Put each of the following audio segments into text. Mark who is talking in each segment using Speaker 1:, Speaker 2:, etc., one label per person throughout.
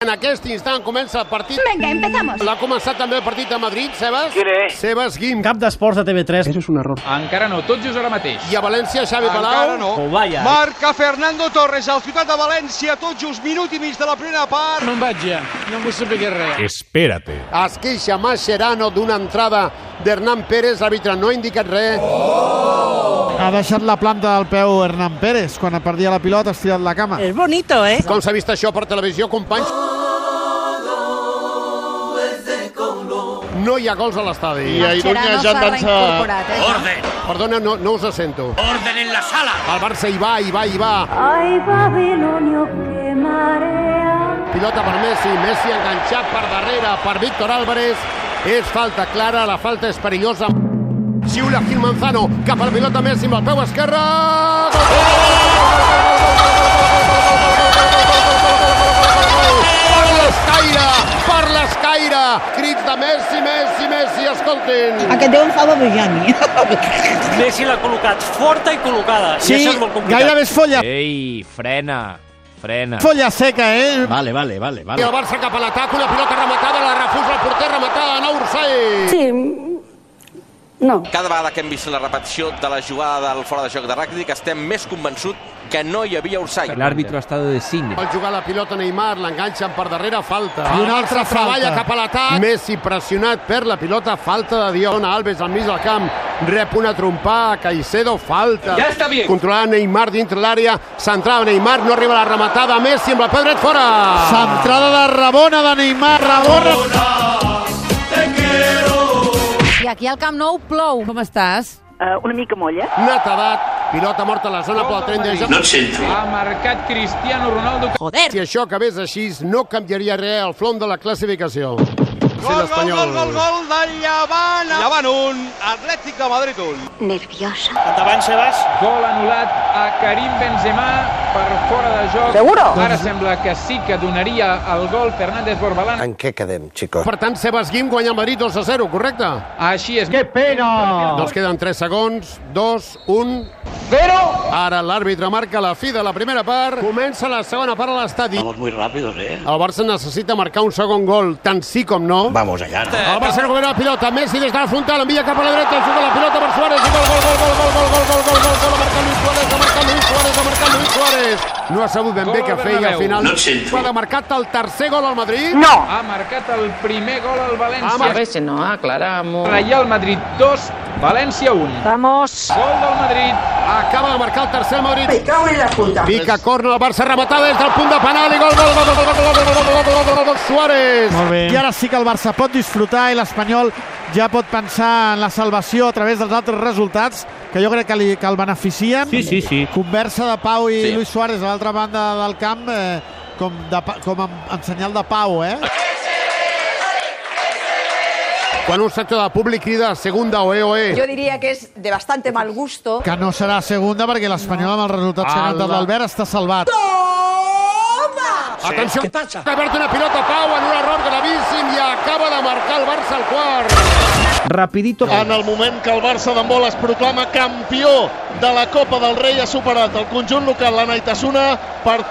Speaker 1: en aquest instant comença el partit.
Speaker 2: Venga, empezamos.
Speaker 1: L'ha començat també el partit a Madrid, Sebas.
Speaker 3: Quine?
Speaker 1: Sebas Guim.
Speaker 4: Cap d'esports de TV3.
Speaker 5: Eso es un error.
Speaker 6: Encara no, tot just ara mateix.
Speaker 1: I a València, Xavi
Speaker 7: Encara
Speaker 1: Palau.
Speaker 7: no.
Speaker 4: Oh, vaya.
Speaker 7: Marca Fernando Torres, al Ciutat de València, tot just minut i mig de la primera part.
Speaker 6: No em vaig ja, no vull saber res.
Speaker 8: Espérate.
Speaker 1: Es queixa Mascherano d'una entrada d'Hernan Pérez. L'àrbitre no ha indicat res.
Speaker 9: Ha deixat la planta del peu Hernán Pérez. Quan perdia la pilota, ha estirat la cama.
Speaker 10: Es bonito, ¿eh?
Speaker 1: Com s'ha vist això per televisió, companys? No hi ha gols a l'estadi.
Speaker 2: Mascherano s'ha reincorporat, eh?
Speaker 1: Perdona, no, no us sento. Orden en la sala! El Barça hi va, hi va, hi va.
Speaker 2: Ay, Babilonio, qué marea.
Speaker 1: Pilota per Messi, Messi enganxat per darrere per Víctor Álvarez. És falta clara, la falta és perillosa. Xiula Gil Manzano cap al pilota Messi amb el peu esquerre. Gol! Per l'escaire, per l'escaire. Crits de Messi, Messi, Messi, escoltin.
Speaker 10: Aquest Déu em fa babejar a mi.
Speaker 5: Messi l'ha col·locat forta i col·locada.
Speaker 9: Sí,
Speaker 5: I això és molt complicat.
Speaker 9: gairebé és folla,
Speaker 6: Ei, frena, frena.
Speaker 9: folla seca, eh?
Speaker 4: Vale, vale, vale,
Speaker 1: I
Speaker 4: vale.
Speaker 1: el Barça cap a l'atac, una pilota rematada, la refusa el porter, rematada de nou Ursaí.
Speaker 2: Sí. No.
Speaker 3: Cada vegada que hem vist la repetició de la jugada del fora de joc de Ràctic estem més convençut que no hi havia Ursai.
Speaker 5: El árbitro ha estado de cine.
Speaker 1: Vol jugar la pilota Neymar, l'enganxen per darrere, falta.
Speaker 9: I una altra
Speaker 1: Barça Treballa
Speaker 9: falta.
Speaker 1: cap a l'atac. Messi pressionat, perd la pilota, falta de Dion Alves al mig del camp. Rep una trompada, Caicedo, falta.
Speaker 6: Ja està bé.
Speaker 1: Controlava Neymar dintre l'àrea, centrava Neymar, no arriba la rematada, Messi amb la pedret fora.
Speaker 9: Centrada de Rabona de Neymar, Rabona.
Speaker 2: I aquí al Camp Nou plou.
Speaker 10: Com estàs?
Speaker 11: Eh, una mica molla.
Speaker 1: Netedat, pilota morta a la zona pel tren de joc.
Speaker 3: No et sento.
Speaker 6: Ha marcat Cristiano Ronaldo.
Speaker 10: Joder!
Speaker 1: Si això acabés així, no canviaria res al front de la classificació. Sí,
Speaker 7: Gol, gol,
Speaker 1: l'Espanyol.
Speaker 7: gol, gol, gol del Llevant. Llevant un, Atlètic de Madrid un.
Speaker 2: Nerviosa.
Speaker 5: Endavant, Sebas.
Speaker 6: Gol anul·lat a Karim Benzema per fora de joc. Seguro? Ara sembla que sí que donaria el gol Fernández Borbalán.
Speaker 3: En què quedem, xicos?
Speaker 1: Per tant, Sebas Guim guanya el Madrid 2 a 0, correcte?
Speaker 6: Així és.
Speaker 1: Doncs queden 3 segons, 2, 1... 0! Ara l'àrbitre marca la fi de la primera part. Comença la segona part a l'estadi.
Speaker 5: Vamos muy rápidos, eh.
Speaker 1: El Barça necessita marcar un segon gol, tant sí com no.
Speaker 5: Vamos allá.
Speaker 1: El Barça recupera la pilota, Messi des de la frontal, envia cap a la dreta, juga la pilota per Suárez, i gol, gol, gol, gol, gol, gol, gol, gol, gol, gol, ha marcat Luis Suárez, ha marcat Luis Suárez, ha marcat Luis Suárez. No ha sabut ben bé
Speaker 6: Gol
Speaker 1: què
Speaker 6: al
Speaker 1: fer i al
Speaker 6: Bernabéu.
Speaker 1: final...
Speaker 3: No et sento.
Speaker 1: Ha marcat el tercer gol al Madrid.
Speaker 6: Ha marcat el primer gol al València.
Speaker 1: Ha marcat-
Speaker 10: Si no, aclaramos.
Speaker 6: Reial Madrid 2, València 1.
Speaker 11: Vamos.
Speaker 6: Gol del Madrid.
Speaker 1: Acaba de marcar el tercer Madrid.
Speaker 10: Me cago en la puta.
Speaker 1: Pica corna, el Barça rematada des del punt de penal i gol, gol, gol, gol, gol, gol, gol, gol, gol, gol, gol, gol, Suárez.
Speaker 9: Molt bé. I ara sí que el Barça pot disfrutar i l'Espanyol ja pot pensar en la salvació a través dels altres resultats, que jo crec que, li, que el beneficien.
Speaker 4: Sí, sí, sí.
Speaker 9: Conversa de Pau i
Speaker 3: Sí.
Speaker 9: sí. Luis Suárez a l'altra banda del camp eh, com, de, pa- com en, en senyal de pau, eh?
Speaker 1: Quan un sector de públic crida segunda oe oe.
Speaker 10: diría que es de bastante mal gusto.
Speaker 9: Que no serà segunda perquè l'Espanyol amb els resultats
Speaker 6: Ah,
Speaker 9: que ha cantat l'Albert està salvat.
Speaker 1: Atenció, que ha perdut una pilota Pau en un error gravíssim i acaba de marcar el Barça al quart.
Speaker 4: Rapidito.
Speaker 12: En el moment que el Barça d'handbol es proclama campió de la Copa del Rei ha superat el conjunt local la Naitasuna per 30-33.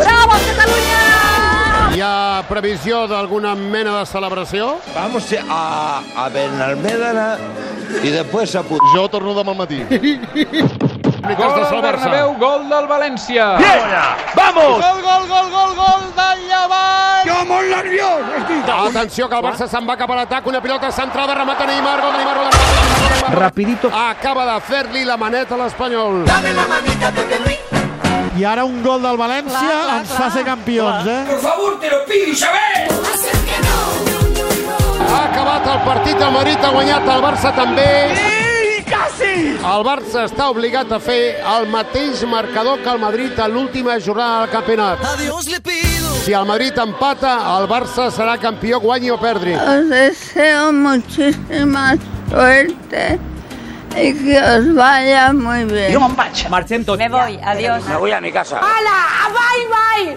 Speaker 2: ¡Bravo, Cataluña!
Speaker 1: Hi ha previsió d'alguna mena de celebració?
Speaker 7: Vamos a, a Benalmèdana i després a Put.
Speaker 12: Jo torno demà al matí.
Speaker 1: Mites
Speaker 6: Gol
Speaker 1: de
Speaker 6: del
Speaker 1: sol
Speaker 6: Bernabéu, gol del València.
Speaker 7: Gol, gol, gol, gol, gol del Llevant.
Speaker 1: Atenció, que el Barça se'n va cap a l'atac. Una pilota centrada, remata Neymar, gol de Neymar, gol de Neymar, gol de Neymar, gol de Neymar.
Speaker 4: Rapidito.
Speaker 1: Acaba de fer-li la maneta a l'Espanyol.
Speaker 9: I ara un gol del València
Speaker 10: Clar, clar,
Speaker 9: ens fa
Speaker 10: clar.
Speaker 9: ser campions, eh?
Speaker 1: Ha acabat el partit, el Madrid ha guanyat, el Barça també. I quasi! El Barça està obligat a fer el mateix marcador que el Madrid a l'última jornada del campionat. Adiós le pido. Si el Madrid empata, el Barça serà campió, guanyi o perdi.
Speaker 2: Os deseo muchísima suerte y que os vaya muy bien.
Speaker 5: Marxem tots.
Speaker 10: Me voy, adiós.
Speaker 3: Me voy a mi casa.
Speaker 2: ¡Hala! ¡Bye, bye!